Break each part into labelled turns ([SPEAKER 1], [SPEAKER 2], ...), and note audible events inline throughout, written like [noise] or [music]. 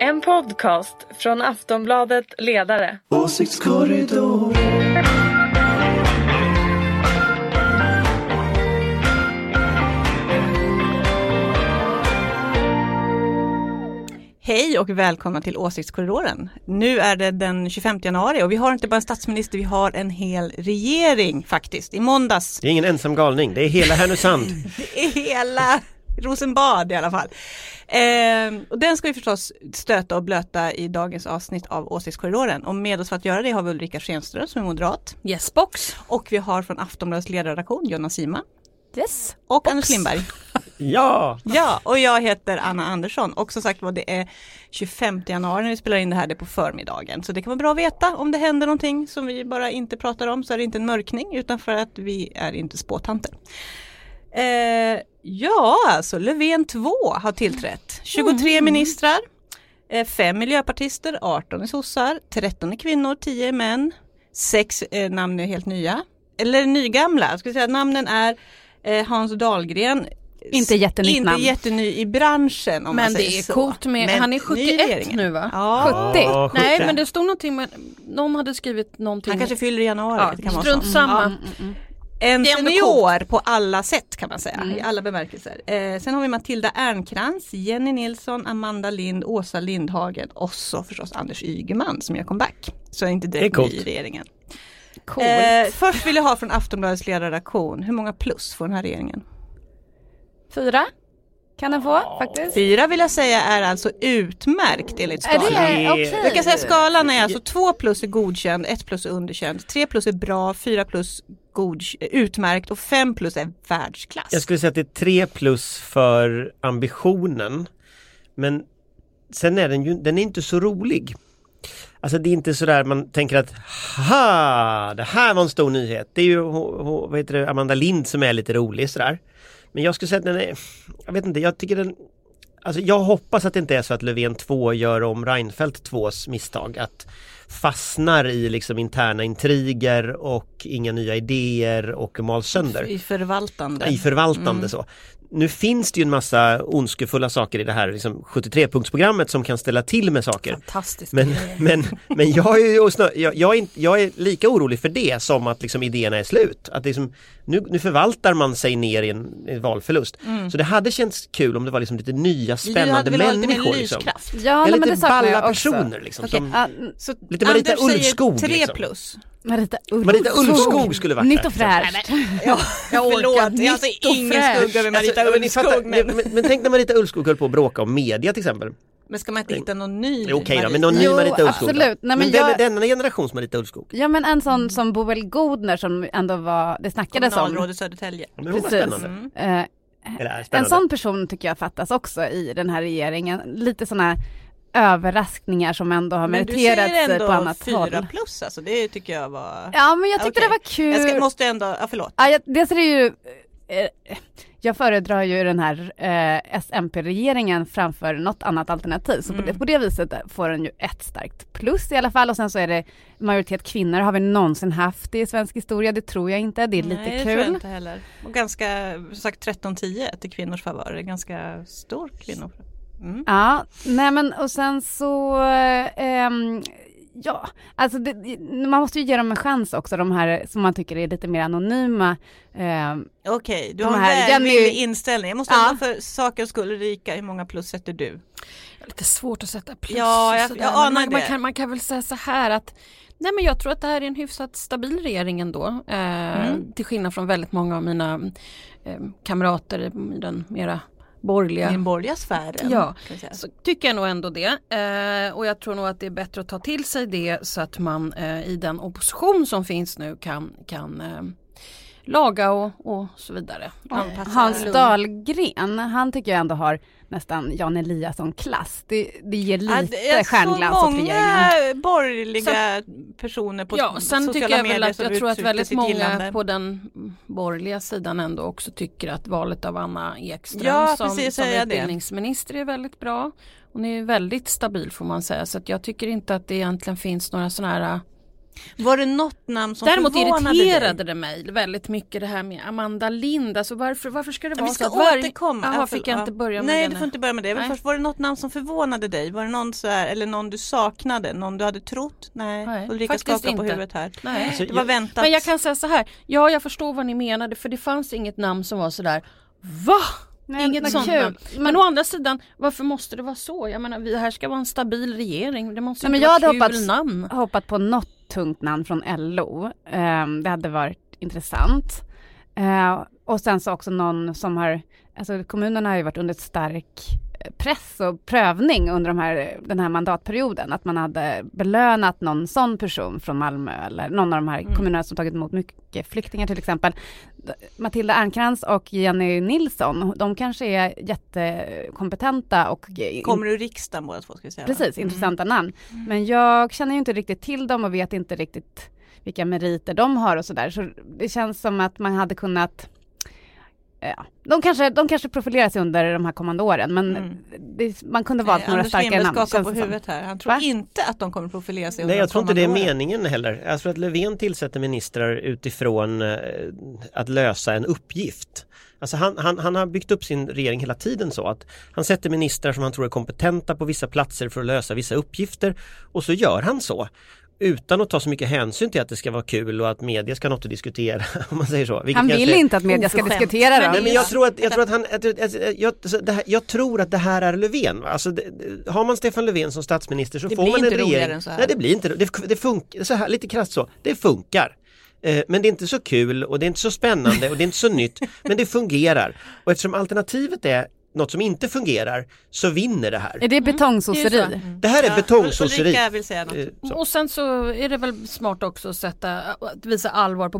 [SPEAKER 1] En podcast från Aftonbladet Ledare.
[SPEAKER 2] Åsiktskorridoren.
[SPEAKER 3] Hej och välkomna till Åsiktskorridoren. Nu är det den 25 januari och vi har inte bara en statsminister, vi har en hel regering faktiskt. I måndags,
[SPEAKER 4] Det är ingen ensam galning, det är hela Härnösand.
[SPEAKER 3] det är hela Rosenbad i alla fall. Ehm, och den ska vi förstås stöta och blöta i dagens avsnitt av Åsiktskorridoren. Och med oss för att göra det har vi Ulrika Schenström som är moderat.
[SPEAKER 5] Yes box.
[SPEAKER 3] Och vi har från Aftonbladets ledarredaktion Jonna Sima
[SPEAKER 5] Yes.
[SPEAKER 3] och Anders Lindberg.
[SPEAKER 4] ja!
[SPEAKER 3] Ja, och jag heter Anna Andersson och som sagt var det är 25 januari när vi spelar in det här, det är på förmiddagen. Så det kan vara bra att veta om det händer någonting som vi bara inte pratar om så är det inte en mörkning utan för att vi är inte spåtanter. Eh, ja, alltså Löfven 2 har tillträtt. 23
[SPEAKER 5] Mm.
[SPEAKER 3] ministrar, 5 miljöpartister, 18 är sossar, 13 är kvinnor, 10 är män, 6 eh, namn är helt nya. Eller nygamla, jag skulle säga namnen är eh, Hans Dahlgren,
[SPEAKER 5] Inte jättenytt
[SPEAKER 3] inte
[SPEAKER 5] namn.
[SPEAKER 3] jätteny i branschen om man
[SPEAKER 5] Men
[SPEAKER 3] säger
[SPEAKER 5] det är
[SPEAKER 3] så.
[SPEAKER 5] coolt med,
[SPEAKER 3] Men
[SPEAKER 5] han är
[SPEAKER 3] ny regering.
[SPEAKER 5] 71 nu va?
[SPEAKER 3] Ja,
[SPEAKER 5] 70?
[SPEAKER 4] Ja, 70.
[SPEAKER 5] Nej men det stod någonting med, någon hade skrivit någonting.
[SPEAKER 3] han kanske fyller i januari.
[SPEAKER 5] ja,
[SPEAKER 3] det kan vara
[SPEAKER 5] strunt
[SPEAKER 3] så. Mm.
[SPEAKER 5] samma.
[SPEAKER 3] Ja. En
[SPEAKER 5] Det är ändå
[SPEAKER 3] senior på alla sätt kan man säga, i alla bemärkelser. Eh, sen har vi Matilda Ernkrans, Jenny Nilsson, Amanda Lind, Åsa Lindhagen och så förstås Anders Ygeman som gör comeback. Så inte
[SPEAKER 4] Det är
[SPEAKER 3] direkt ny
[SPEAKER 4] coolt.
[SPEAKER 3] i regeringen.
[SPEAKER 5] Coolt.
[SPEAKER 3] Eh, först vill jag ha från Aftonbladets ledarredaktion, hur många plus får den här regeringen?
[SPEAKER 6] Fyra kan den få faktiskt.
[SPEAKER 3] Fyra vill jag säga är alltså utmärkt enligt
[SPEAKER 6] Är
[SPEAKER 3] skalan.
[SPEAKER 6] det okej?
[SPEAKER 3] Jag kan säga skalan är alltså 2 plus är godkänd, 1 plus är underkänd, 3 plus är bra, 4 plus god, utmärkt och 5 plus är världsklass.
[SPEAKER 4] Jag skulle säga att det är tre plus för ambitionen. Men sen är den ju den är inte så rolig. Alltså det är inte sådär man tänker att ha, det här var en stor nyhet. Det är ju ho- ho- vad heter det, Amanda Lind som är lite rolig sådär. Men jag skulle säga att den är, jag vet inte, jag tycker den Alltså jag hoppas att det inte är så att Löfven 2 gör om Reinfeldt 2s misstag att fastnar i liksom interna intriger och inga nya idéer och mals sönder.
[SPEAKER 3] I förvaltande.
[SPEAKER 4] I förvaltande så. Nu finns det ju en massa ondskefulla saker i det här liksom 73-punktsprogrammet som kan ställa till med saker.
[SPEAKER 5] Fantastiskt.
[SPEAKER 4] Men, [laughs] men, men jag, är ju, och snö- jag, jag, är, inte- jag är lika orolig för det som att liksom idéerna är slut. Att det liksom, nu, nu förvaltar man sig ner i en, en valförlust. Så det hade känts kul om det var liksom lite nya
[SPEAKER 3] du hade
[SPEAKER 4] spännande
[SPEAKER 3] velat ha lite mer
[SPEAKER 4] människor. Liksom.
[SPEAKER 3] lyskraft.
[SPEAKER 6] Ja,
[SPEAKER 4] Eller
[SPEAKER 6] nej, men det
[SPEAKER 4] lite
[SPEAKER 6] saknar
[SPEAKER 4] balla
[SPEAKER 6] jag också.
[SPEAKER 4] personer. Liksom,
[SPEAKER 3] Okej,
[SPEAKER 4] som,
[SPEAKER 6] Ja,
[SPEAKER 3] Så
[SPEAKER 4] Lite Marita
[SPEAKER 3] Anders
[SPEAKER 4] Ulvskog,
[SPEAKER 3] säger 3
[SPEAKER 4] liksom.
[SPEAKER 3] plus.
[SPEAKER 6] Marita Ulvskog.
[SPEAKER 4] Marita Ulvskog skulle varit
[SPEAKER 6] Nytt
[SPEAKER 4] där.
[SPEAKER 6] och fräscht. [laughs]
[SPEAKER 3] Ja,
[SPEAKER 5] Jag orkar
[SPEAKER 3] förlåt, det är alltså
[SPEAKER 5] nytt och
[SPEAKER 3] ingen
[SPEAKER 5] fräscht.
[SPEAKER 3] skugga över
[SPEAKER 4] Alltså,
[SPEAKER 3] Marita
[SPEAKER 4] men ni fattar-
[SPEAKER 3] Ulvskog. Men,
[SPEAKER 4] men, men, men tänk när Marita Ulvskog höll på att bråka om media till exempel.
[SPEAKER 3] men ska man inte hitta någon ny?
[SPEAKER 4] Okej då, men
[SPEAKER 3] Marita?
[SPEAKER 4] någon ny
[SPEAKER 6] Jo,
[SPEAKER 4] Marita Ulvskog då?
[SPEAKER 6] absolut. Nej, men
[SPEAKER 4] men vem är
[SPEAKER 6] jag-
[SPEAKER 4] denna generations Marita Ulvskog?
[SPEAKER 6] Ja men en sån som Boel Godner som ändå var, det snackades om.
[SPEAKER 3] Kommunalråd i Södertälje.
[SPEAKER 4] Men hon var
[SPEAKER 6] Precis.
[SPEAKER 4] spännande.
[SPEAKER 6] Eh,
[SPEAKER 4] Eller är
[SPEAKER 6] en
[SPEAKER 4] spännande.
[SPEAKER 6] sån person tycker jag fattas också i den här regeringen. Lite sådana överraskningar som ändå har
[SPEAKER 3] Men du säger
[SPEAKER 6] meriterat sig på
[SPEAKER 3] ändå
[SPEAKER 6] annat
[SPEAKER 3] 4
[SPEAKER 6] håll.
[SPEAKER 3] plus alltså, det tycker jag var...
[SPEAKER 6] Ja men jag tyckte
[SPEAKER 3] Okej.
[SPEAKER 6] det var kul.
[SPEAKER 3] Jag ska, måste ändå, ja förlåt.
[SPEAKER 6] Ja, jag, dels är det ju, eh, jag föredrar ju den här eh, SMP-regeringen framför något annat alternativ. Så
[SPEAKER 3] Mm.
[SPEAKER 6] på, det, på det viset får den ju ett starkt plus i alla fall. Och sen så är det majoritet kvinnor. Har vi någonsin haft det i svensk historia? Det tror jag inte. Det är lite
[SPEAKER 3] Nej, det tror jag
[SPEAKER 6] kul.
[SPEAKER 3] inte heller. Och ganska, som sagt 13-10 till kvinnors favör, Det är ganska stor kvinnofavör. Mm.
[SPEAKER 6] Ja, nej men och sen så, eh, ehm, ja, alltså det, man måste ju ge dem en chans också, de här som man tycker är lite mer anonyma. Eh,
[SPEAKER 3] Okej, du
[SPEAKER 6] De
[SPEAKER 3] har en
[SPEAKER 6] här
[SPEAKER 3] välvillig
[SPEAKER 6] Jenny-
[SPEAKER 3] inställning. Jag måste
[SPEAKER 6] Ja.
[SPEAKER 3] ändå för sakens skull Ulrika, hur många plus sätter du?
[SPEAKER 5] Lite svårt att sätta plus.
[SPEAKER 3] Ja,
[SPEAKER 5] och
[SPEAKER 3] jag-
[SPEAKER 5] sådär.
[SPEAKER 3] jag
[SPEAKER 5] Men
[SPEAKER 3] anar
[SPEAKER 5] man, man,
[SPEAKER 3] det.
[SPEAKER 5] kan, man kan väl säga så här att Nej men jag tror att det här är en hyfsat stabil regering ändå. Eh,
[SPEAKER 3] Mm.
[SPEAKER 5] Till skillnad från väldigt många av mina eh, kamrater i den mera borgerliga
[SPEAKER 3] I den borgerliga sfären?
[SPEAKER 5] Ja.
[SPEAKER 3] kan jag säga.
[SPEAKER 5] så tycker jag nog ändå det. Eh, och jag tror nog att det är bättre att ta till sig det så att man eh, i den opposition som finns nu kan, kan eh, laga och, och så vidare.
[SPEAKER 3] Anpassa.
[SPEAKER 6] Hans
[SPEAKER 3] Lugn.
[SPEAKER 6] Dahlgren, han tycker jag ändå har nästan Jan Eliasson-klass. Det, det ger
[SPEAKER 3] Ja,
[SPEAKER 6] lite
[SPEAKER 3] det är
[SPEAKER 6] stjärnglans
[SPEAKER 3] så
[SPEAKER 6] åt regeringen.
[SPEAKER 3] många borgerliga personer på
[SPEAKER 5] Ja, sen
[SPEAKER 3] sociala
[SPEAKER 5] tycker jag väl
[SPEAKER 3] medier
[SPEAKER 5] att
[SPEAKER 3] som
[SPEAKER 5] jag tror att
[SPEAKER 3] uttryckte
[SPEAKER 5] väldigt
[SPEAKER 3] sitt
[SPEAKER 5] många
[SPEAKER 3] gillande.
[SPEAKER 5] på den borgerliga sidan ändå också tycker att valet av Anna Ekström
[SPEAKER 3] Ja,
[SPEAKER 5] som,
[SPEAKER 3] precis,
[SPEAKER 5] som
[SPEAKER 3] säger jag det.
[SPEAKER 5] utbildningsminister är väldigt bra. Hon är ju väldigt stabil får man säga så att jag tycker inte att det egentligen finns några sådana här
[SPEAKER 3] Var det något namn som
[SPEAKER 5] Däremot
[SPEAKER 3] förvånade dig?
[SPEAKER 5] irriterade det mig väldigt mycket det här med Amanda Lind. Alltså varför, varför ska det vara
[SPEAKER 3] Vi ska
[SPEAKER 5] så? att varje-
[SPEAKER 3] återkomma.
[SPEAKER 5] Jaha,
[SPEAKER 3] Ja,
[SPEAKER 5] fick
[SPEAKER 3] förl-
[SPEAKER 5] jag
[SPEAKER 3] ja.
[SPEAKER 5] inte börja med
[SPEAKER 3] Nej,
[SPEAKER 5] den
[SPEAKER 3] du
[SPEAKER 5] här?
[SPEAKER 3] får inte börja med det. Men
[SPEAKER 5] Nej.
[SPEAKER 3] först, var det något namn som förvånade dig? Var det någon så här, eller någon du saknade? Någon du hade trott? Nej,
[SPEAKER 5] Nej,
[SPEAKER 3] Ulrika
[SPEAKER 5] faktiskt
[SPEAKER 3] skakar på
[SPEAKER 5] inte.
[SPEAKER 3] huvudet här.
[SPEAKER 5] Nej.
[SPEAKER 4] Alltså,
[SPEAKER 3] Det var väntat.
[SPEAKER 5] Men jag kan säga så här, ja jag förstår vad ni menade för det fanns inget namn som var sådär VA?
[SPEAKER 6] Nej,
[SPEAKER 5] Inget
[SPEAKER 6] men
[SPEAKER 5] sånt
[SPEAKER 6] kul.
[SPEAKER 5] namn. Men,
[SPEAKER 6] Men-
[SPEAKER 5] å andra sidan, varför måste det vara så? Jag menar, vi här ska vara en stabil regering, det måste
[SPEAKER 6] Nej, men
[SPEAKER 5] inte
[SPEAKER 6] jag
[SPEAKER 5] vara
[SPEAKER 6] hade
[SPEAKER 5] kul
[SPEAKER 6] hoppats-
[SPEAKER 5] namn.
[SPEAKER 6] Jag har hoppat på något tungt namn från LO. Ehm, det hade varit intressant. Eh, och sen så också någon som har, alltså kommunerna har ju varit under stark eh, press och prövning under de här, den här mandatperioden. Att man hade belönat någon sån person från Malmö eller någon av de här
[SPEAKER 5] Mm.
[SPEAKER 6] kommunerna som tagit emot mycket flyktingar till exempel. Matilda Ernkrans och Jenny Nilsson, de kanske är jättekompetenta och
[SPEAKER 3] Kommer ur riksdagen båda två ska vi säga. va?
[SPEAKER 6] Precis, intressanta
[SPEAKER 3] Mm.
[SPEAKER 6] namn. Men jag känner ju inte riktigt till dem och vet inte riktigt vilka meriter de har och sådär. Så det känns som att man hade kunnat eh, Ja. De, kanske, de kanske profilerar sig under de här kommande åren men
[SPEAKER 3] Mm.
[SPEAKER 6] det, man kunde
[SPEAKER 3] Nej,
[SPEAKER 6] valt några
[SPEAKER 3] Anders
[SPEAKER 6] starkare
[SPEAKER 3] Lindberg
[SPEAKER 6] namn.
[SPEAKER 3] skakar
[SPEAKER 6] känns
[SPEAKER 3] på
[SPEAKER 6] det som.
[SPEAKER 3] huvudet här. Han tror
[SPEAKER 6] Va?
[SPEAKER 3] inte att de kommer profilera sig under
[SPEAKER 4] Nej jag
[SPEAKER 3] de
[SPEAKER 4] tror inte det är
[SPEAKER 3] kommande åren.
[SPEAKER 4] meningen heller. Jag tror att Löfven tillsätter ministrar utifrån eh, att lösa en uppgift. Alltså han, han, han har byggt upp sin regering hela tiden så att han sätter ministrar som han tror är kompetenta på vissa platser för att lösa vissa uppgifter och så gör han så. Utan att ta så mycket hänsyn till att det ska vara kul och att media ska ha något att diskutera. [laughs] om man säger så. Vilket
[SPEAKER 6] Han vill
[SPEAKER 4] kanske-
[SPEAKER 6] inte att media ska
[SPEAKER 3] oförskämt.
[SPEAKER 6] diskutera dem.
[SPEAKER 4] Nej, men jag, tror att, jag, tror att han, jag, jag, jag, så det här, jag tror att det här är Löfven. va? Alltså, det, det- har man Stefan Löfven som statsminister så
[SPEAKER 3] Det
[SPEAKER 4] får
[SPEAKER 3] blir
[SPEAKER 4] man en
[SPEAKER 3] inte
[SPEAKER 4] regering.
[SPEAKER 3] roligare än så här.
[SPEAKER 4] Nej, det blir inte det, det funkar, så här, lite krasst så, det funkar. Eh, Men det är inte så kul och det är inte så spännande och det är inte
[SPEAKER 3] [laughs]
[SPEAKER 4] så nytt. Men det fungerar. Och eftersom alternativet är något som inte fungerar så vinner det här.
[SPEAKER 6] Är det betongsosseri?
[SPEAKER 5] Mm, det är
[SPEAKER 4] Det här är
[SPEAKER 3] Ja,
[SPEAKER 4] betongsosseri.
[SPEAKER 3] Ulrika vill säga något.
[SPEAKER 4] Eh, så.
[SPEAKER 5] Och sen så är det väl smart också att, sätta, att visa allvar på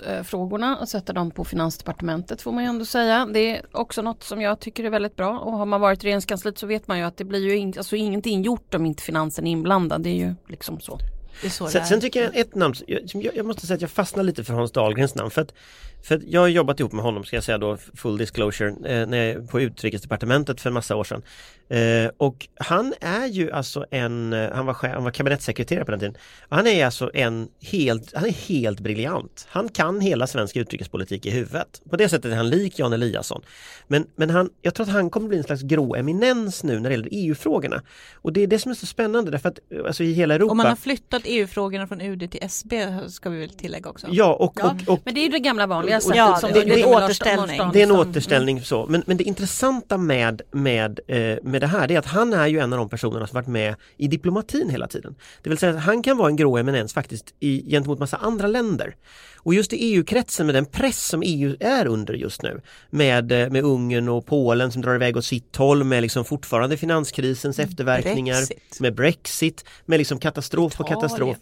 [SPEAKER 5] bostadsfrågorna och sätta dem på Finansdepartementet får man ju ändå säga. Det är också något som jag tycker är väldigt bra och har man varit i Regeringskansliet så vet man ju att det blir ju in, alltså ingenting gjort om inte finansen är inblandad. Det är ju liksom så.
[SPEAKER 3] Det är så det
[SPEAKER 4] Sen,
[SPEAKER 3] är.
[SPEAKER 4] sen tycker jag ett namn, som jag, som jag, jag måste säga att jag fastnar lite för Hans Dahlgrens namn. För att, för att jag har jobbat ihop med honom, ska jag säga då, full disclosure, eh, när jag, på utrikesdepartementet för en massa år sedan. Eh, och han är ju alltså en, eh, han var, chef- han var kabinettssekreterare på den tiden. Och han är alltså en helt, han är helt briljant. Han kan hela svensk utrikespolitik i huvudet. På det sättet är han lik Jan Eliasson. Men, men han, jag tror att han kommer bli en slags grå eminens nu när det gäller EU-frågorna. Och det är det som är så spännande därför att eh, alltså, i hela Europa
[SPEAKER 3] Om man har flyttat EU-frågorna från UD till SB ska vi väl tillägga också.
[SPEAKER 4] Ja, och,
[SPEAKER 5] Ja,
[SPEAKER 4] och, och
[SPEAKER 5] men det är ju det gamla vanliga
[SPEAKER 4] och-
[SPEAKER 5] sättet
[SPEAKER 3] ja,
[SPEAKER 5] som
[SPEAKER 4] det- det är
[SPEAKER 5] gjorde med Lars-
[SPEAKER 3] återställning.
[SPEAKER 5] Lars
[SPEAKER 4] det är en
[SPEAKER 5] Danielsson.
[SPEAKER 4] återställning så. Men, men det intressanta med, med, eh, med det här det är att han är ju en av de personerna som varit med i diplomatin hela tiden. Det vill säga att han kan vara en grå eminens faktiskt i, gentemot massa andra länder. Och just i EU-kretsen med den press som EU är under just nu med, eh, med Ungern och Polen som drar iväg åt sitt håll med liksom fortfarande finanskrisens efterverkningar.
[SPEAKER 3] Brexit.
[SPEAKER 4] liksom Med Brexit, med liksom katastrof på
[SPEAKER 3] Italien.
[SPEAKER 4] katastrof.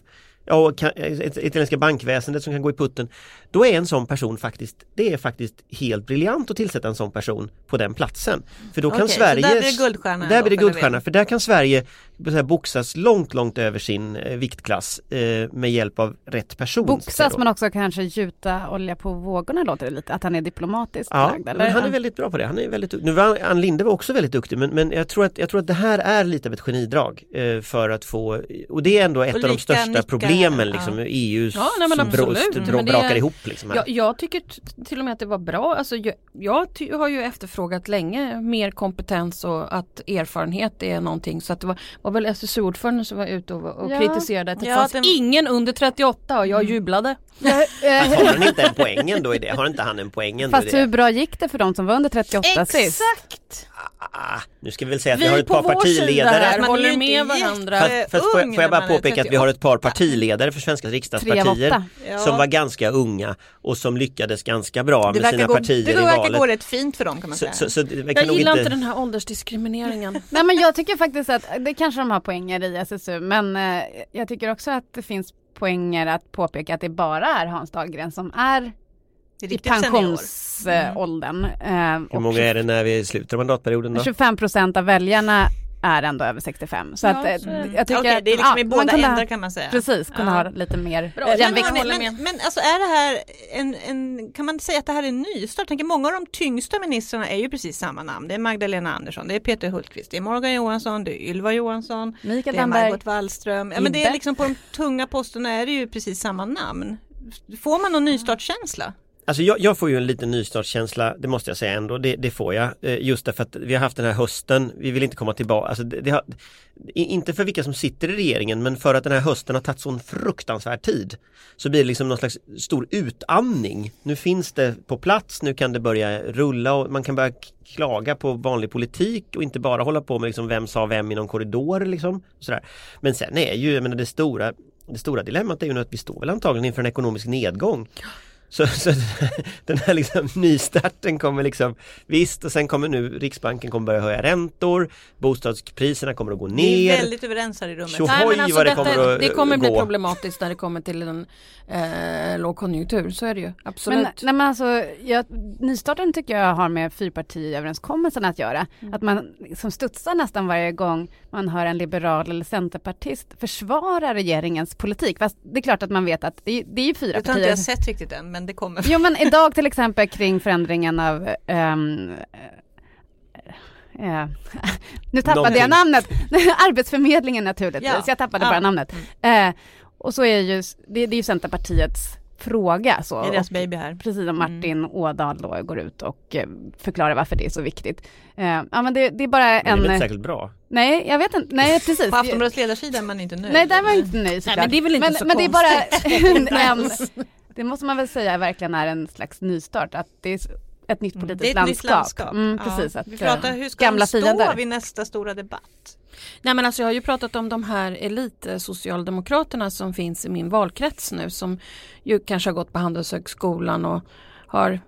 [SPEAKER 4] Ja, och ka- eh, it- italienska bankväsendet som kan gå i putten. Då är en sån person faktiskt, det är faktiskt helt briljant att tillsätta en sån person på den platsen. För då kan
[SPEAKER 3] Okej, så
[SPEAKER 4] Sverige...
[SPEAKER 3] där blir det guldstjärna
[SPEAKER 4] Där
[SPEAKER 3] ändå
[SPEAKER 4] blir det
[SPEAKER 3] för Löfven.
[SPEAKER 4] guldstjärna, för där kan Sverige så här, boxas långt, långt över sin eh, viktklass eh, med hjälp av rätt person. så att säga
[SPEAKER 6] Boxas
[SPEAKER 4] då.
[SPEAKER 6] men också kanske gjuta olja på vågorna låter det lite, att han är diplomatiskt
[SPEAKER 4] Ja,
[SPEAKER 6] lagd, eller?
[SPEAKER 4] men han är väldigt bra på det. Han är väldigt, dukt- nu var Ann Linde var också väldigt duktig men, men jag, tror att, jag tror att det här är lite av ett genidrag eh, för att få och det är ändå ett av de
[SPEAKER 3] Ulrika
[SPEAKER 4] största
[SPEAKER 3] nickar,
[SPEAKER 4] problemen
[SPEAKER 3] ja.
[SPEAKER 4] liksom, med EU
[SPEAKER 5] Ja, nej, men
[SPEAKER 4] som bro,
[SPEAKER 5] absolut.
[SPEAKER 4] st-
[SPEAKER 5] Men
[SPEAKER 4] dra-
[SPEAKER 5] det-
[SPEAKER 4] brakar ihop. Liksom, här.
[SPEAKER 5] Jag, jag tycker t- till och med att det var bra. Alltså, jag jag ty- har ju efterfrågat länge mer kompetens och att erfarenhet är någonting. Så att det var, var väl SSU-ordföranden som var ute och, och
[SPEAKER 6] Ja.
[SPEAKER 5] kritiserade att det
[SPEAKER 3] Ja,
[SPEAKER 5] fanns
[SPEAKER 3] det-
[SPEAKER 5] ingen under 38 och jag jublade.
[SPEAKER 6] Eh,
[SPEAKER 4] Har han inte en poäng ändå i det? Har inte han en poäng ändå i
[SPEAKER 6] Fast
[SPEAKER 4] det?
[SPEAKER 6] hur bra gick det för de som var under 38 sist?
[SPEAKER 5] Exakt!
[SPEAKER 4] Ah, nu ska vi väl säga att vi,
[SPEAKER 5] Vi
[SPEAKER 4] har ett
[SPEAKER 5] på
[SPEAKER 4] par
[SPEAKER 5] vår sida här. Man
[SPEAKER 4] partiledare.
[SPEAKER 3] Man
[SPEAKER 5] håller
[SPEAKER 3] är ju
[SPEAKER 5] med
[SPEAKER 3] inte
[SPEAKER 5] varandra.
[SPEAKER 3] jätte-
[SPEAKER 4] Fast, fast får, jag,
[SPEAKER 3] ung
[SPEAKER 4] får jag
[SPEAKER 3] när
[SPEAKER 4] bara
[SPEAKER 3] man är
[SPEAKER 4] påpeka att vi har ett par partiledare för svenska
[SPEAKER 6] Tre av
[SPEAKER 4] riksdagspartier
[SPEAKER 6] åtta.
[SPEAKER 3] Ja.
[SPEAKER 4] som var ganska unga och som lyckades ganska bra
[SPEAKER 3] det
[SPEAKER 4] med sina
[SPEAKER 3] verkar, gå, det
[SPEAKER 4] partier i
[SPEAKER 3] verkar gå
[SPEAKER 4] valet.
[SPEAKER 3] rätt fint för dem kan man
[SPEAKER 4] Så,
[SPEAKER 3] säga.
[SPEAKER 4] så, så, vi kan
[SPEAKER 5] Jag
[SPEAKER 4] nog
[SPEAKER 5] gillar
[SPEAKER 4] inte...
[SPEAKER 5] inte den här åldersdiskrimineringen.
[SPEAKER 6] Nej men jag tycker faktiskt att det kanske de har poänger i SSU men eh, jag tycker också att det finns poänger att påpeka att det bara är Hans Dahlgren som är
[SPEAKER 3] Det är
[SPEAKER 6] i
[SPEAKER 3] riktigt senior.
[SPEAKER 6] pensionsåldern. eh,
[SPEAKER 4] Mm. Hur
[SPEAKER 6] och
[SPEAKER 4] många är det när vi slutar mandatperioden då?
[SPEAKER 6] 25 procent av väljarna är ändå över 65. Så
[SPEAKER 5] Ja,
[SPEAKER 6] att, eh,
[SPEAKER 5] så är det.
[SPEAKER 6] jag tycker
[SPEAKER 3] Okej,
[SPEAKER 6] att
[SPEAKER 3] det är liksom
[SPEAKER 6] ja,
[SPEAKER 3] i
[SPEAKER 6] man
[SPEAKER 3] båda
[SPEAKER 6] kunde ha-
[SPEAKER 3] ändar kan man säga.
[SPEAKER 6] Precis, kunna
[SPEAKER 3] Ja.
[SPEAKER 6] ha lite mer
[SPEAKER 5] Bra,
[SPEAKER 3] Men,
[SPEAKER 5] Jag
[SPEAKER 6] jämvikt.
[SPEAKER 5] håller
[SPEAKER 3] men, men,
[SPEAKER 5] med.
[SPEAKER 3] men alltså är det här en, en, kan man säga att det här är en nystart? Jag tänker, många av de tyngsta ministrarna är ju precis samma namn. Det är Magdalena Andersson, det är Peter Hultqvist, det är Morgan Johansson, det är Ylva Johansson,
[SPEAKER 6] Mikael
[SPEAKER 3] det är
[SPEAKER 6] Damberg,
[SPEAKER 3] Margot Wallström. Ja, men det är
[SPEAKER 6] Inte.
[SPEAKER 3] liksom på de tunga posterna är det ju precis samma namn. Får man någon nystartskänsla?
[SPEAKER 4] Alltså jag, jag får ju en liten nystartskänsla, det måste jag säga ändå, det, det får jag. Eh, Just därför att vi har haft den här hösten, vi vill inte komma tillbaka. Alltså det, det har, i- inte för vilka som sitter i regeringen men för att den här hösten har tagit sån fruktansvärd tid. Så blir det liksom någon slags stor utandning. Nu finns det på plats, nu kan det börja rulla och man kan börja k- klaga på vanlig politik och inte bara hålla på med liksom vem sa vem i någon korridor. Liksom, och sådär. Men sen är ju, jag menar det stora det stora dilemmat är ju nu att vi står väl antagligen inför en ekonomisk nedgång. Så, så [laughs] den här liksom [laughs] nystarten kommer liksom Visst och sen kommer nu Riksbanken kommer börja höja räntor Bostadspriserna kommer att gå
[SPEAKER 3] Vi är
[SPEAKER 4] ner
[SPEAKER 3] väldigt överens här i rummet.
[SPEAKER 4] Tjoho! [laughs] Oj, vad det kommer att, eh,
[SPEAKER 5] det kommer bli
[SPEAKER 4] gå.
[SPEAKER 5] problematiskt när det kommer till en eh, lågkonjunktur, så är det ju. Absolut.
[SPEAKER 6] Men, nej, men alltså, jag, nystarten tycker jag har med fyrpartiöverenskommelsen att göra. Att man som studsar nästan varje gång man hör en liberal eller centerpartist försvara regeringens politik. Fast det är klart att man vet att det, är- det är ju fyra
[SPEAKER 3] Det har
[SPEAKER 6] partier.
[SPEAKER 3] inte jag sett riktigt än, men det kommer.
[SPEAKER 6] Jo men idag till exempel kring förändringen av ehm, eh, eh, nu tappade jag
[SPEAKER 4] Någonting.
[SPEAKER 6] namnet. [laughs] Arbetsförmedlingen naturligtvis.
[SPEAKER 3] Ja.
[SPEAKER 6] Jag tappade
[SPEAKER 3] Ja. Mm.
[SPEAKER 6] bara namnet. Eh, och så är ju, det, det är ju Centerpartiets fråga. Så.
[SPEAKER 3] Det är
[SPEAKER 6] Och-
[SPEAKER 3] deras baby här.
[SPEAKER 6] precis som Martin Ådahl då går ut och eh, förklarar varför det är så viktigt. Eh, ja men det, det är bara
[SPEAKER 4] Men det är väl
[SPEAKER 6] en...
[SPEAKER 4] inte särskilt bra?
[SPEAKER 6] nej, jag vet inte. Nej, precis.
[SPEAKER 3] På Aftonbladets ledarsida är man inte nöjd.
[SPEAKER 6] nej, där var jag inte nöjd såklart.
[SPEAKER 5] men det är väl inte
[SPEAKER 6] men,
[SPEAKER 5] så
[SPEAKER 6] men det är
[SPEAKER 3] [laughs]
[SPEAKER 6] bara [laughs] en, en... Det måste man väl säga verkligen är en slags nystart, att det är ett nytt politiskt
[SPEAKER 3] Mm, Det är ett
[SPEAKER 6] landskap.
[SPEAKER 3] nytt landskap.
[SPEAKER 6] Mm,
[SPEAKER 3] Ja.
[SPEAKER 6] precis, att,
[SPEAKER 3] Vi
[SPEAKER 6] eh,
[SPEAKER 3] pratar hur ska
[SPEAKER 6] gamla
[SPEAKER 3] de stå
[SPEAKER 6] fiender.
[SPEAKER 3] vid nästa stora debatt?
[SPEAKER 5] Nej men alltså jag har ju pratat om de här elitsocialdemokraterna som finns i min valkrets nu som ju kanske har gått på Handelshögskolan och har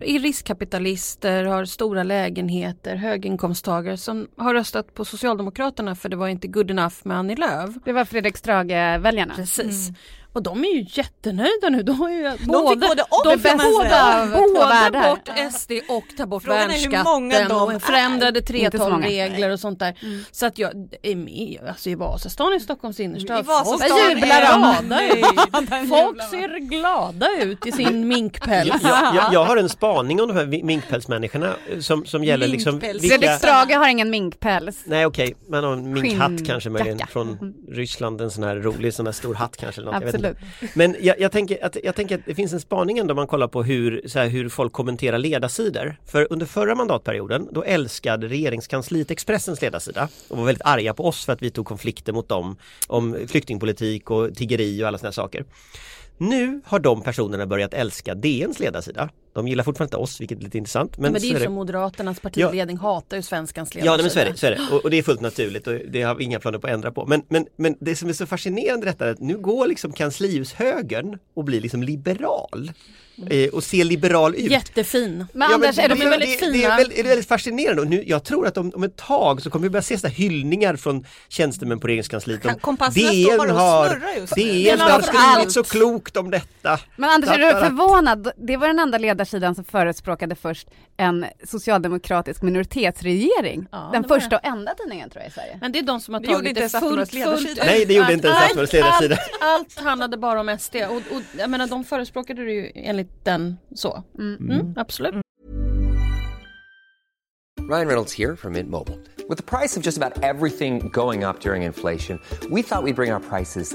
[SPEAKER 5] är riskkapitalister, har stora lägenheter, höginkomsttagare som har röstat på Socialdemokraterna för det var inte good enough med Annie Lööf.
[SPEAKER 6] Det var Fredrik Strage-väljarna.
[SPEAKER 5] Precis. Och de är ju jättenöjda nu. De, har ju
[SPEAKER 3] Mm. De fick både och,
[SPEAKER 5] de
[SPEAKER 3] kan
[SPEAKER 5] fick
[SPEAKER 3] man
[SPEAKER 5] båda,
[SPEAKER 6] säga.
[SPEAKER 5] av
[SPEAKER 6] Båda
[SPEAKER 5] två
[SPEAKER 6] världar.
[SPEAKER 5] bort SD och ta bort
[SPEAKER 3] Frågan är hur många
[SPEAKER 5] värnskatten
[SPEAKER 3] de är.
[SPEAKER 5] och förändrade
[SPEAKER 6] Inte så många.
[SPEAKER 5] 3:12-regler och sånt där.
[SPEAKER 3] Mm.
[SPEAKER 5] Så att jag är med alltså i Vasastan i Stockholms innerstad.
[SPEAKER 3] I Vasastan
[SPEAKER 5] folk är
[SPEAKER 6] jublar de.
[SPEAKER 5] glada ut. Folk ser glada ut i sin minkpäls.
[SPEAKER 4] Jag, jag, jag, jag har en spaning om de här vi- minkpälsmänniskorna eh, som, som gäller liksom
[SPEAKER 3] Minkpäls.
[SPEAKER 6] Fredrik
[SPEAKER 4] vilka,
[SPEAKER 6] Strage har ingen minkpäls.
[SPEAKER 4] Nej okej, men en minkhatt kanske möjligen
[SPEAKER 6] Skinnjacka.
[SPEAKER 5] Mm.
[SPEAKER 4] från Ryssland, en sån här rolig sån här stor hatt kanske eller något, jag vet inte.
[SPEAKER 6] Absolut.
[SPEAKER 4] Men jag, jag, tänker att, jag tänker att det finns en spaning ändå om man kollar på hur, så här, hur folk kommenterar ledarsidor. För under förra mandatperioden då älskade regeringskansliet Expressens ledarsida och var väldigt arga på oss för att vi tog konflikter mot dem om flyktingpolitik och tiggeri och alla såna här saker. Nu har de personerna börjat älska DNs ledarsida. De gillar fortfarande inte oss, vilket är lite intressant. Men,
[SPEAKER 5] Men det är
[SPEAKER 4] så
[SPEAKER 5] ju som Moderaternas partiledning hatar ju svenskans
[SPEAKER 4] Ja, nej,
[SPEAKER 5] ledarsida.
[SPEAKER 4] men så är det. Så är det. Och, och det är fullt naturligt och det har vi inga planer på att ändra på. Men, men, men det som är så fascinerande i detta är att nu går liksom kanslihushögern och blir liksom liberal. Eh, och ser liberal ut.
[SPEAKER 5] Jättefin.
[SPEAKER 6] Men
[SPEAKER 4] Ja,
[SPEAKER 6] Anders,
[SPEAKER 4] det-
[SPEAKER 6] är de
[SPEAKER 4] det-
[SPEAKER 6] ju väldigt
[SPEAKER 4] det,
[SPEAKER 5] fina.
[SPEAKER 4] Det är väldigt, det är väldigt fascinerande och nu, jag tror att om, om ett tag så kommer vi börja se så här hyllningar från tjänstemän på regeringskansliet. Om
[SPEAKER 3] Kompasserna står bara och
[SPEAKER 4] har,
[SPEAKER 3] snurrar just nu.
[SPEAKER 4] DN
[SPEAKER 6] Men
[SPEAKER 4] har
[SPEAKER 6] allt-
[SPEAKER 4] skrivit så klokt om detta.
[SPEAKER 6] Men Anders, är
[SPEAKER 4] Da, da,
[SPEAKER 6] du
[SPEAKER 4] da.
[SPEAKER 6] förvånad? Det var den enda ledarsidan som förespråkade först en socialdemokratisk minoritetsregering.
[SPEAKER 5] Ja,
[SPEAKER 6] den
[SPEAKER 5] det var
[SPEAKER 6] första och enda tidningen tror jag i Sverige.
[SPEAKER 5] Men det är de som har
[SPEAKER 3] Det gjorde
[SPEAKER 5] tagit det
[SPEAKER 3] inte ens Aftonbladets
[SPEAKER 5] fullt, fullt
[SPEAKER 3] ledarsida.
[SPEAKER 4] Nej, det gjorde inte ens
[SPEAKER 5] Allt-
[SPEAKER 4] Aftonbladets ledarsida.
[SPEAKER 5] Allt, allt handlade bara om SD och, och jag menar de förespråkade det ju enligt den så. Mm, absolut.
[SPEAKER 7] Ryan Reynolds here from Mint Mobile. With the price of just about everything going up during inflation, we thought we'd bring our prices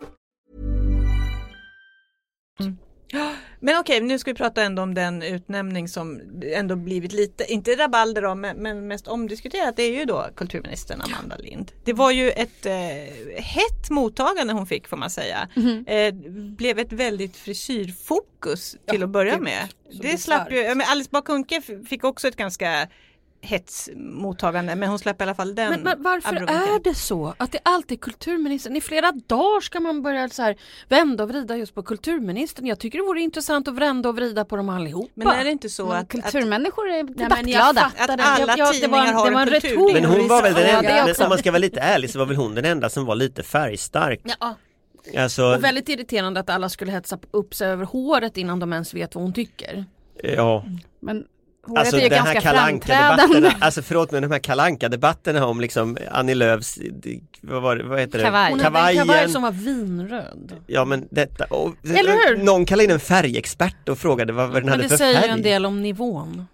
[SPEAKER 3] Men okej, nu ska vi prata ändå om den utnämning som ändå blivit lite, inte rabalder om, men- men mest omdiskuterat. Det är ju då kulturministern Amanda Lind. Det var ju ett eh, hett mottagande hon fick får man säga.
[SPEAKER 5] Mhm.
[SPEAKER 3] Eh, blev ett väldigt frisyrfokus till att börja med. Det slapp ju, men Alice Bah Kuhnke f- fick också ett ganska hetsmottagande men hon släpper i alla fall den.
[SPEAKER 5] Men, men varför
[SPEAKER 3] abrovinken.
[SPEAKER 5] är det så att det alltid är kulturministern? I flera dagar ska man börja så här vända och vrida just på kulturministern. Jag tycker det vore intressant att vända och vrida på dem allihopa.
[SPEAKER 3] Men är det inte så att, att
[SPEAKER 6] Kulturmänniskor är
[SPEAKER 5] Nej, men jag
[SPEAKER 6] debattglada.
[SPEAKER 5] fattar
[SPEAKER 3] Att
[SPEAKER 5] det. Jag- jag-
[SPEAKER 3] alla
[SPEAKER 5] det var en-
[SPEAKER 3] tidningar har
[SPEAKER 5] det var
[SPEAKER 3] en
[SPEAKER 5] en
[SPEAKER 3] kultur.
[SPEAKER 5] retorik.
[SPEAKER 4] Men hon var väl den
[SPEAKER 5] Ja,
[SPEAKER 4] enda,
[SPEAKER 5] det
[SPEAKER 4] eller
[SPEAKER 5] också.
[SPEAKER 4] om man ska vara lite ärlig så var väl hon den enda som var lite färgstark.
[SPEAKER 5] Ja,
[SPEAKER 4] Alltså,
[SPEAKER 5] och väldigt irriterande att alla skulle hetsa upp sig över håret innan de ens vet vad hon tycker.
[SPEAKER 4] ja.
[SPEAKER 6] Men håret
[SPEAKER 4] Alltså
[SPEAKER 6] är ju
[SPEAKER 4] den här
[SPEAKER 6] ganska framträdande.
[SPEAKER 4] kalankadebatterna, alltså förlåt men de här kalankadebatterna om liksom Annie Lööfs, vad, var det, vad heter det?
[SPEAKER 6] Kavaj.
[SPEAKER 5] Hon hade en kavaj som var vinröd.
[SPEAKER 4] Ja men detta, och,
[SPEAKER 5] Eller hur?
[SPEAKER 4] någon kallade in en färgexpert och frågade vad, vad den
[SPEAKER 5] Men
[SPEAKER 4] hade
[SPEAKER 5] det
[SPEAKER 4] för
[SPEAKER 5] säger en
[SPEAKER 4] färg.
[SPEAKER 5] del om nivån.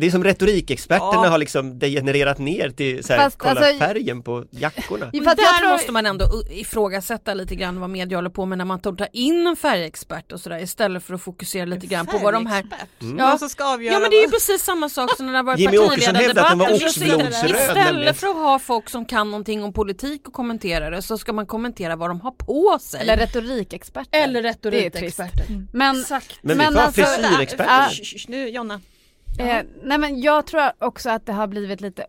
[SPEAKER 4] Det är som retorikexperterna
[SPEAKER 3] Ja.
[SPEAKER 4] har liksom degenererat ner till så här,
[SPEAKER 6] Fast,
[SPEAKER 4] kolla
[SPEAKER 6] alltså-
[SPEAKER 4] färgen på jackorna.
[SPEAKER 6] För
[SPEAKER 5] Men
[SPEAKER 6] att jag
[SPEAKER 5] där
[SPEAKER 6] tror-
[SPEAKER 5] måste man ändå u- ifrågasätta lite grann vad media håller på med när man tar in en färgexpert och sådär istället för att fokusera lite grann på vad de här
[SPEAKER 3] Mm.
[SPEAKER 5] Ja.
[SPEAKER 3] Någon som ska avgöra
[SPEAKER 5] Ja men det är ju
[SPEAKER 3] vad-
[SPEAKER 5] precis samma sak som när det har varit
[SPEAKER 4] Jimmy Åkesson hävdade att den var
[SPEAKER 5] partiledardebatter. Så sitter det där.
[SPEAKER 4] oxblodsröd, nämligen.
[SPEAKER 5] Istället för att ha folk som kan någonting om politik och kommentera det så ska man kommentera vad de har på sig.
[SPEAKER 6] Eller retorikexperter.
[SPEAKER 5] Eller
[SPEAKER 6] Det är
[SPEAKER 5] retorikexperter.
[SPEAKER 6] trist. Men,
[SPEAKER 5] Exakt.
[SPEAKER 4] Men vi tar frisyrexperter.
[SPEAKER 6] ah,
[SPEAKER 3] Sh- sh- sh- Nu Jonna.
[SPEAKER 6] eh, nej men jag tror också att det har blivit lite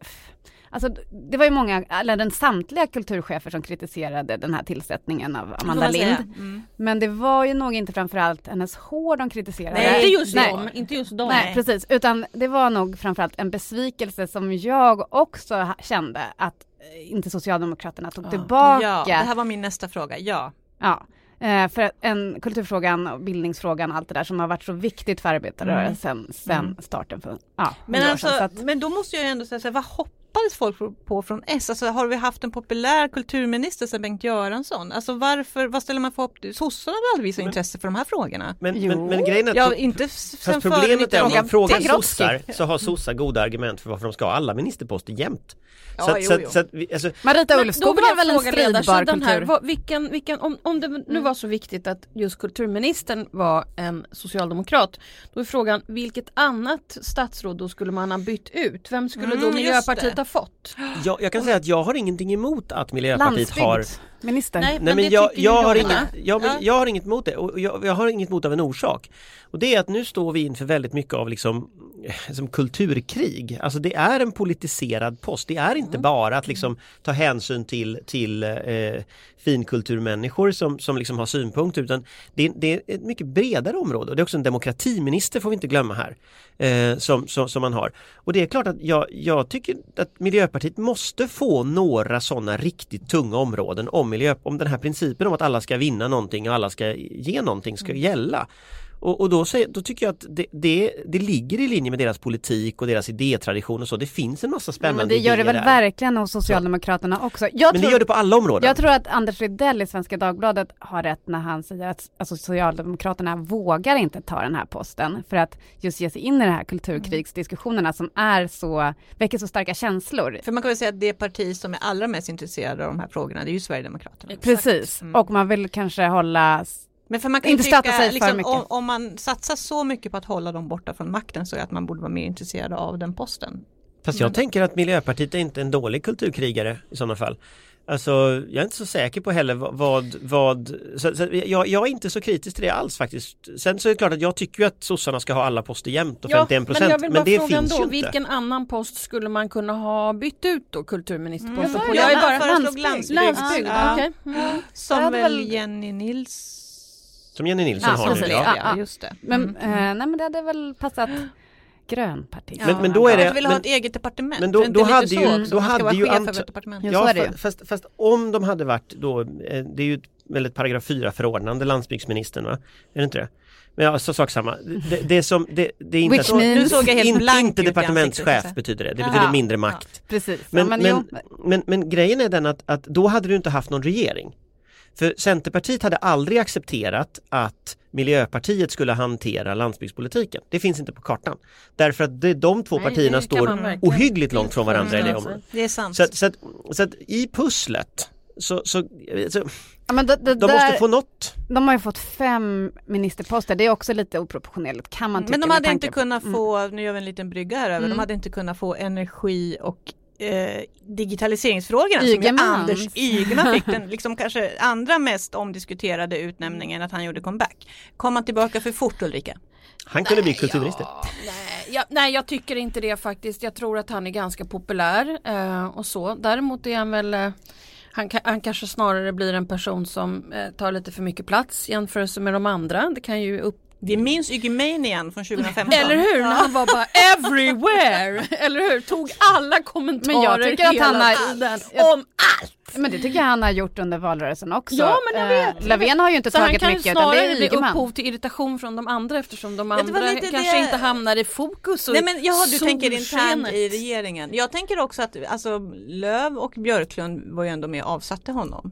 [SPEAKER 6] Alltså det var ju många, eller den samtliga kulturchefer som kritiserade den här tillsättningen av Amanda
[SPEAKER 3] man säga. Mm.
[SPEAKER 6] Lind. Men det var ju nog inte framförallt hennes hår de kritiserade.
[SPEAKER 5] Nej, inte just
[SPEAKER 6] Nej.
[SPEAKER 5] dem. Inte just dem.
[SPEAKER 6] Nej, precis. Utan det var nog framförallt en besvikelse som jag också ha- kände att eh, inte Socialdemokraterna tog tillbaka.
[SPEAKER 3] Ja, det här var min nästa fråga. Ja.
[SPEAKER 6] Ja, eh, för att en kulturfrågan, och bildningsfrågan, allt det där som har varit så viktigt för arbetarrörelsen sen starten för ja,
[SPEAKER 3] Mm. Men,
[SPEAKER 6] hundra år
[SPEAKER 3] alltså,
[SPEAKER 6] sedan. Så att,
[SPEAKER 3] men då måste jag ju ändå säga så här, vad hoppades folk på från S? Alltså har vi haft en populär kulturminister sedan Bengt Göransson? Alltså varför, vad ställer man för hopp? Sossarna har väl aldrig visat intresse för de här frågorna?
[SPEAKER 4] Men,
[SPEAKER 6] Jo.
[SPEAKER 4] men, men grejen är att
[SPEAKER 3] Ja, inte s- sen
[SPEAKER 4] Fast
[SPEAKER 3] före
[SPEAKER 4] problemet är om man
[SPEAKER 3] 1980.
[SPEAKER 4] frågar
[SPEAKER 3] Grotsky.
[SPEAKER 4] sossar så har sossar goda argument för varför de ska ha alla ministerposter jämt. Så
[SPEAKER 3] Ja,
[SPEAKER 4] att,
[SPEAKER 3] jo,
[SPEAKER 4] så att,
[SPEAKER 3] jo.
[SPEAKER 4] så att vi, alltså,
[SPEAKER 6] Marita
[SPEAKER 5] Men då
[SPEAKER 6] Ulvskog
[SPEAKER 5] vill
[SPEAKER 6] var
[SPEAKER 5] jag
[SPEAKER 6] väl en
[SPEAKER 5] fråga ledarsidan
[SPEAKER 6] stridbar kultur?
[SPEAKER 5] Här, vad, vilken, vilken, om, om det nu var så viktigt att just kulturministern var en socialdemokrat, då är frågan vilket annat statsråd då skulle man ha bytt ut? Vem skulle
[SPEAKER 3] Mm,
[SPEAKER 5] då
[SPEAKER 3] just
[SPEAKER 5] Miljöpartiet
[SPEAKER 3] det.
[SPEAKER 5] ha fått?
[SPEAKER 4] jag, jag kan säga att jag har ingenting emot att Miljöpartiet
[SPEAKER 6] Landsbygd,
[SPEAKER 4] har
[SPEAKER 6] minister.
[SPEAKER 5] Nej,
[SPEAKER 4] Nej,
[SPEAKER 5] men,
[SPEAKER 4] men
[SPEAKER 5] det
[SPEAKER 4] jag,
[SPEAKER 5] tycker ju
[SPEAKER 4] jag, har
[SPEAKER 5] Jonna.
[SPEAKER 4] inget, jag, men, jag har inget emot det och jag, jag har inget emot av en orsak. Och det är att nu står vi inför väldigt mycket av liksom, eh, som kulturkrig. Alltså det är en politiserad post. Det är inte bara att liksom, ta hänsyn till, till eh, finkulturmänniskor som, som liksom har synpunkter utan det, det är ett mycket bredare område. Och det är också en demokratiminister får vi inte glömma här. Eh, som, som, som man har. Och det är klart att jag, jag tycker att Miljöpartiet måste få några sådana riktigt tunga områden om, miljö, om den här principen om att alla ska vinna någonting och alla ska ge någonting ska
[SPEAKER 6] Mm.
[SPEAKER 4] gälla. Och, och då, säger, då tycker jag att det, det, det ligger i linje med deras politik och deras idétradition och så. Det finns en massa
[SPEAKER 6] Ja,
[SPEAKER 4] spännande
[SPEAKER 6] men det gör det
[SPEAKER 4] idéer
[SPEAKER 6] väl
[SPEAKER 4] där.
[SPEAKER 6] verkligen hos Socialdemokraterna också. Jag
[SPEAKER 4] Men det
[SPEAKER 6] tror,
[SPEAKER 4] gör det på alla områden.
[SPEAKER 6] jag tror att Anders Rydell i Svenska Dagbladet har rätt när han säger att alltså, Socialdemokraterna vågar inte ta den här posten för att just ge sig in i de här kulturkrigsdiskussionerna som är så, väcker så starka känslor
[SPEAKER 3] För man kan väl säga att det parti som är allra mest intresserade av de här frågorna, det är ju Sverigedemokraterna.
[SPEAKER 6] Precis,
[SPEAKER 5] Mm.
[SPEAKER 6] och man vill kanske hålla...
[SPEAKER 3] Men för man kan
[SPEAKER 6] Inte
[SPEAKER 3] ju
[SPEAKER 6] stöta sig
[SPEAKER 3] tycka,
[SPEAKER 6] för
[SPEAKER 3] liksom,
[SPEAKER 6] mycket.
[SPEAKER 3] om, om man satsar så mycket på att hålla dem borta från makten så är att man borde vara mer intresserad av den posten.
[SPEAKER 4] Fast jag tänker att Miljöpartiet är inte en dålig kulturkrigare i sådana fall. Alltså jag är inte så säker på heller vad, vad, vad så, så, jag, jag är inte så kritisk till det alls faktiskt. Sen så är det klart att jag tycker ju att sossarna ska ha alla poster jämt och 51
[SPEAKER 5] men
[SPEAKER 4] procent.
[SPEAKER 5] jag vill
[SPEAKER 4] Men,
[SPEAKER 5] bara
[SPEAKER 4] det
[SPEAKER 5] fråga
[SPEAKER 4] finns ju
[SPEAKER 5] ändå,
[SPEAKER 4] inte.
[SPEAKER 5] vilken annan post skulle man kunna ha bytt ut då kulturministerposten
[SPEAKER 3] Mm,
[SPEAKER 5] på?
[SPEAKER 3] jag
[SPEAKER 5] Jag är
[SPEAKER 3] bara-
[SPEAKER 5] bara
[SPEAKER 3] föreslog landsbygd.
[SPEAKER 5] landsbygd.
[SPEAKER 3] Ja.
[SPEAKER 5] okej. Mm.
[SPEAKER 6] Jag
[SPEAKER 3] Som
[SPEAKER 6] hade
[SPEAKER 3] väl
[SPEAKER 6] väl-
[SPEAKER 3] Jenny Nils...
[SPEAKER 4] Som Jenny Nilsson
[SPEAKER 6] Ja,
[SPEAKER 4] har nu.
[SPEAKER 6] precis.
[SPEAKER 4] Ja.
[SPEAKER 6] Ja.
[SPEAKER 3] just det.
[SPEAKER 6] Men,
[SPEAKER 5] Mm.
[SPEAKER 6] eh, nej, men det hade väl
[SPEAKER 5] [gasps]
[SPEAKER 6] passat grönpartiet.
[SPEAKER 4] Men- men då är det-
[SPEAKER 3] Att vill ha
[SPEAKER 4] men-
[SPEAKER 3] ett eget departement.
[SPEAKER 4] men då-
[SPEAKER 3] Är inte
[SPEAKER 4] då
[SPEAKER 3] lite
[SPEAKER 4] hade
[SPEAKER 3] så
[SPEAKER 4] ju-
[SPEAKER 3] också?
[SPEAKER 4] då
[SPEAKER 3] Man ska
[SPEAKER 4] hade
[SPEAKER 3] vara
[SPEAKER 4] ju
[SPEAKER 3] chef
[SPEAKER 4] ant-
[SPEAKER 3] över ett departement.
[SPEAKER 6] Ja,
[SPEAKER 4] Ja,
[SPEAKER 6] så är det
[SPEAKER 4] fa-
[SPEAKER 6] ju.
[SPEAKER 4] fast, fast om de hade varit då, eh, det är ju ett- väl ett paragraf 4 förordnande landsbygdsministern va? Är det inte det? Men ja, så sak samma. Det, det, är som, det, det är inte
[SPEAKER 6] Which means-
[SPEAKER 3] Nu såg jag helt
[SPEAKER 4] inte,
[SPEAKER 3] blank
[SPEAKER 4] inte
[SPEAKER 3] ut i
[SPEAKER 4] departementschef
[SPEAKER 3] ansiktet.
[SPEAKER 4] betyder det. Det
[SPEAKER 3] Ja.
[SPEAKER 4] betyder mindre makt.
[SPEAKER 6] Precis.
[SPEAKER 4] Men,
[SPEAKER 6] ja, men,
[SPEAKER 4] men,
[SPEAKER 6] jo,
[SPEAKER 4] men, men grejen är den att, att då hade du inte haft någon regering. För Centerpartiet hade aldrig accepterat att Miljöpartiet skulle hantera landsbygdspolitiken. Det finns inte på kartan. Därför att det, de två
[SPEAKER 5] Nej,
[SPEAKER 4] partierna
[SPEAKER 5] det kan man
[SPEAKER 4] står
[SPEAKER 5] verkligen
[SPEAKER 4] ohyggligt långt från varandra i det
[SPEAKER 5] förstå.
[SPEAKER 4] området.
[SPEAKER 3] Det är sant.
[SPEAKER 4] Så, att, så, att, så att i pusslet så, så, så
[SPEAKER 6] ja, men det, det,
[SPEAKER 4] de måste
[SPEAKER 6] där,
[SPEAKER 4] få något.
[SPEAKER 6] de har ju fått fem ministerposter, det är också lite oproportionerligt kan man tycka.
[SPEAKER 3] Mm, men de
[SPEAKER 6] med
[SPEAKER 3] hade inte
[SPEAKER 6] tanke på-
[SPEAKER 4] Mm.
[SPEAKER 3] kunnat få, nu gör vi en liten brygga här över, de hade inte kunnat få energi och eh, digitaliseringsfrågorna som
[SPEAKER 6] Ygemans.
[SPEAKER 3] ju Anders Ygeman fick den liksom kanske andra mest omdiskuterade utnämningen att han gjorde comeback. Kom han tillbaka för fort Ulrika?
[SPEAKER 4] Han kunde bli kulturminister.
[SPEAKER 5] Ja, nej, ja, nej jag tycker inte det faktiskt. Jag tror att han är ganska populär eh, och så. Däremot är han väl eh, han, ka- han kanske snarare blir en person som eh, tar lite för mycket plats i jämförelse med de andra. Det kan ju upp
[SPEAKER 3] Vi minns Ygemanien
[SPEAKER 4] [laughs]
[SPEAKER 3] från 2015.
[SPEAKER 5] Eller hur? När han var bara everywhere.
[SPEAKER 3] [laughs]
[SPEAKER 5] Eller hur? Tog alla kommentarer
[SPEAKER 6] Men jag tycker att
[SPEAKER 5] hela
[SPEAKER 6] han har-
[SPEAKER 5] tiden.
[SPEAKER 6] jag-
[SPEAKER 5] Om allt.
[SPEAKER 6] Men det tycker jag han har gjort under valrörelsen också.
[SPEAKER 5] Ja, men jag
[SPEAKER 6] Eh,
[SPEAKER 5] vet.
[SPEAKER 6] Löfven har ju inte
[SPEAKER 5] Så Alltså, han
[SPEAKER 6] tagit
[SPEAKER 5] kan ju
[SPEAKER 6] mycket utan det
[SPEAKER 5] snarare
[SPEAKER 6] är
[SPEAKER 5] bli
[SPEAKER 6] Ygeman.
[SPEAKER 5] upphov till irritation från de andra eftersom de
[SPEAKER 3] Ja, det var
[SPEAKER 5] andra
[SPEAKER 3] lite
[SPEAKER 5] kanske
[SPEAKER 3] det-
[SPEAKER 5] inte hamnar i fokus. Och
[SPEAKER 3] Nej men jaha, du tänker internt
[SPEAKER 5] solskenet.
[SPEAKER 3] i regeringen. Jag tänker också att alltså, Löv och Björklund var ju ändå med och avsatte honom.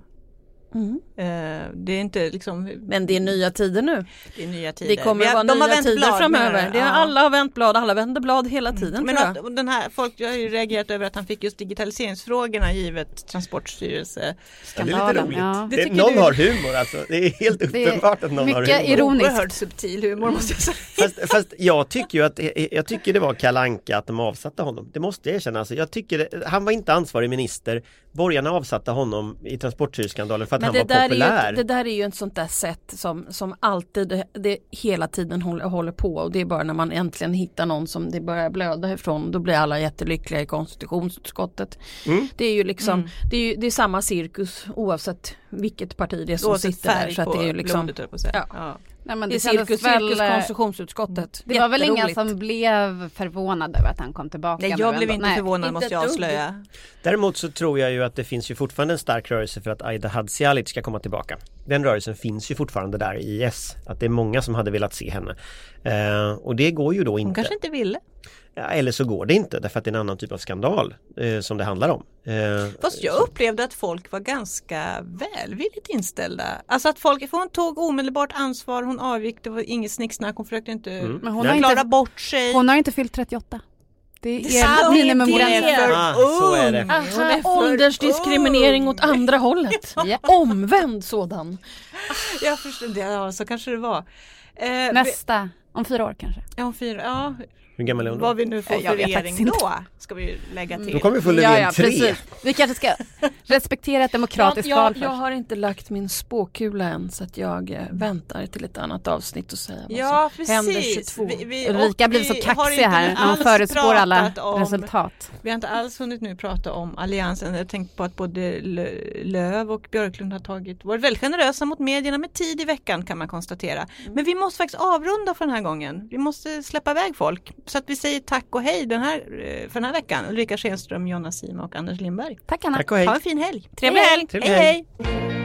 [SPEAKER 5] Mm.
[SPEAKER 3] Eh, det är inte liksom
[SPEAKER 5] Men det är nya tider nu.
[SPEAKER 3] det är nya tider.
[SPEAKER 5] Det kommer
[SPEAKER 3] Vi har-
[SPEAKER 5] vara
[SPEAKER 3] de har
[SPEAKER 5] nya
[SPEAKER 3] vänt
[SPEAKER 5] tider
[SPEAKER 3] blad nu.
[SPEAKER 5] framöver. Det är,
[SPEAKER 3] Ja. Mm.
[SPEAKER 5] Alla har vänt blad, alla vänder blad hela tiden
[SPEAKER 3] Men
[SPEAKER 5] tror
[SPEAKER 3] att,
[SPEAKER 5] jag.
[SPEAKER 3] och den här, folk jag har ju reagerat över att han fick just digitaliseringsfrågorna givet Transportstyrelse.
[SPEAKER 4] Ja, det är lite roligt.
[SPEAKER 6] Ja.
[SPEAKER 4] Det
[SPEAKER 3] Det tycker
[SPEAKER 4] någon
[SPEAKER 3] du-
[SPEAKER 4] har humor alltså. Det är helt
[SPEAKER 6] Det är
[SPEAKER 4] uppenbart att någon har
[SPEAKER 6] mycket
[SPEAKER 4] humor.
[SPEAKER 6] ironi- Ironiskt.
[SPEAKER 3] Oerhört subtil humor måste jag säga.
[SPEAKER 4] Fast, fast jag tycker ju att eh, jag tycker det var kalanka att de avsatte honom. Det måste jag erkänna. Alltså, jag tycker det, han var inte ansvarig minister. Borgarna avsatte honom i Transportstyrelseskandalen för att
[SPEAKER 5] Men
[SPEAKER 4] han
[SPEAKER 5] det
[SPEAKER 4] var
[SPEAKER 5] där, är
[SPEAKER 4] populär.
[SPEAKER 5] ju, det där är ju ett sånt där sätt som, som alltid det hela tiden håller, håller på och det är bara när man äntligen hittar någon som det börjar blöda ifrån då blir alla jättelyckliga i konstitutionsutskottet. Det är ju liksom
[SPEAKER 3] Mm.
[SPEAKER 5] det, är ju, det är samma cirkus oavsett vilket parti det är som
[SPEAKER 3] Oavsett
[SPEAKER 5] sitter där.
[SPEAKER 3] färg
[SPEAKER 5] Så att det eh, är ju
[SPEAKER 3] på
[SPEAKER 5] liksom,
[SPEAKER 3] blodet, höll jag på att säga.
[SPEAKER 5] Ja.
[SPEAKER 3] Ja.
[SPEAKER 6] Nej, men
[SPEAKER 5] det
[SPEAKER 6] det
[SPEAKER 5] är
[SPEAKER 6] kändes
[SPEAKER 5] cirkus,
[SPEAKER 6] väl...
[SPEAKER 5] cirkus konstitutionsutskottet.
[SPEAKER 6] Det var väl ingen
[SPEAKER 5] Jätteroligt.
[SPEAKER 6] som blev förvånad över att han kom tillbaka?
[SPEAKER 3] Nej,
[SPEAKER 6] nu
[SPEAKER 3] jag blev
[SPEAKER 6] ändå.
[SPEAKER 3] inte
[SPEAKER 6] Nej.
[SPEAKER 3] förvånad
[SPEAKER 5] Inte
[SPEAKER 3] måste
[SPEAKER 5] ett
[SPEAKER 3] jag
[SPEAKER 5] dugg.
[SPEAKER 3] avslöja.
[SPEAKER 4] Däremot så tror jag ju att det finns ju fortfarande en stark rörelse för att Aida Hadzialic ska komma tillbaka. Den rörelsen finns ju fortfarande där i IS. Att det är många som hade velat se henne. Eh, och det går ju då
[SPEAKER 3] Hon
[SPEAKER 4] inte.
[SPEAKER 3] kanske inte ville.
[SPEAKER 4] Ja, Eller så går det inte därför att det är en annan typ av skandal eh, som det handlar om. Eh,
[SPEAKER 3] Fast jag upplevde att folk var ganska välvilligt inställda. Alltså att folk, för hon tog omedelbart ansvar, hon avgick, det var inget snicksnack, hon försökte inte
[SPEAKER 6] Men hon
[SPEAKER 4] Nej.
[SPEAKER 6] har,
[SPEAKER 3] klara
[SPEAKER 6] inte,
[SPEAKER 3] bort sig.
[SPEAKER 6] hon har inte fyllt 38. Det
[SPEAKER 3] Det är
[SPEAKER 6] är
[SPEAKER 3] sant.
[SPEAKER 6] minimumgränsen.
[SPEAKER 3] Det är för
[SPEAKER 4] Ah, så är det.
[SPEAKER 3] ung. Hon
[SPEAKER 5] Aha,
[SPEAKER 3] är för
[SPEAKER 5] åldersdiskriminering
[SPEAKER 3] ung.
[SPEAKER 5] åt andra [laughs] hållet.
[SPEAKER 6] Ja.
[SPEAKER 5] Omvänd sådan.
[SPEAKER 3] Jag förstår, det, ja, så kanske det var. Eh, vi-
[SPEAKER 6] Nästa, om fyra år kanske.
[SPEAKER 3] ja, hon fyra, ja,
[SPEAKER 4] Hur gammal är hon då?
[SPEAKER 3] vad vi nu får
[SPEAKER 6] Jag
[SPEAKER 3] för
[SPEAKER 6] vet faktiskt
[SPEAKER 3] regering
[SPEAKER 6] inte. Mm.
[SPEAKER 3] då, ska vi ju lägga till.
[SPEAKER 4] Då kommer vi få Löfven 3.
[SPEAKER 6] Vi kanske ska respektera ett
[SPEAKER 5] Jag,
[SPEAKER 6] demokratiskt val
[SPEAKER 5] jag,
[SPEAKER 6] först.
[SPEAKER 5] jag har inte lagt min spåkula än så att jag eh, väntar till ett annat avsnitt och säger vad
[SPEAKER 3] Ja,
[SPEAKER 5] som händer
[SPEAKER 3] precis.
[SPEAKER 5] 22.
[SPEAKER 6] Ulrika
[SPEAKER 3] och
[SPEAKER 6] blir så
[SPEAKER 3] vi har
[SPEAKER 6] kaxig
[SPEAKER 3] inte
[SPEAKER 6] här när hon
[SPEAKER 3] alls
[SPEAKER 6] förutspår alla
[SPEAKER 3] pratat om-
[SPEAKER 6] resultat.
[SPEAKER 3] Vi har inte alls hunnit nu prata om Alliansen. Jag tänkte på att både Lö- Löv och Björklund har tagit, varit väldigt generösa mot medierna med tid i veckan kan man konstatera. Men vi måste faktiskt avrunda för den här gången. Vi måste släppa iväg folk. Så att vi säger tack och hej den här, eh, för den här veckan. Ulrika Schenström, Jonna Sima och Anders Lindberg.
[SPEAKER 6] Tack Anna.
[SPEAKER 4] Tack och hej.
[SPEAKER 3] Ha en fin helg! Trevlig
[SPEAKER 6] Hej,
[SPEAKER 3] helg!
[SPEAKER 4] Trevlig
[SPEAKER 3] Hej
[SPEAKER 4] helg.
[SPEAKER 3] hej!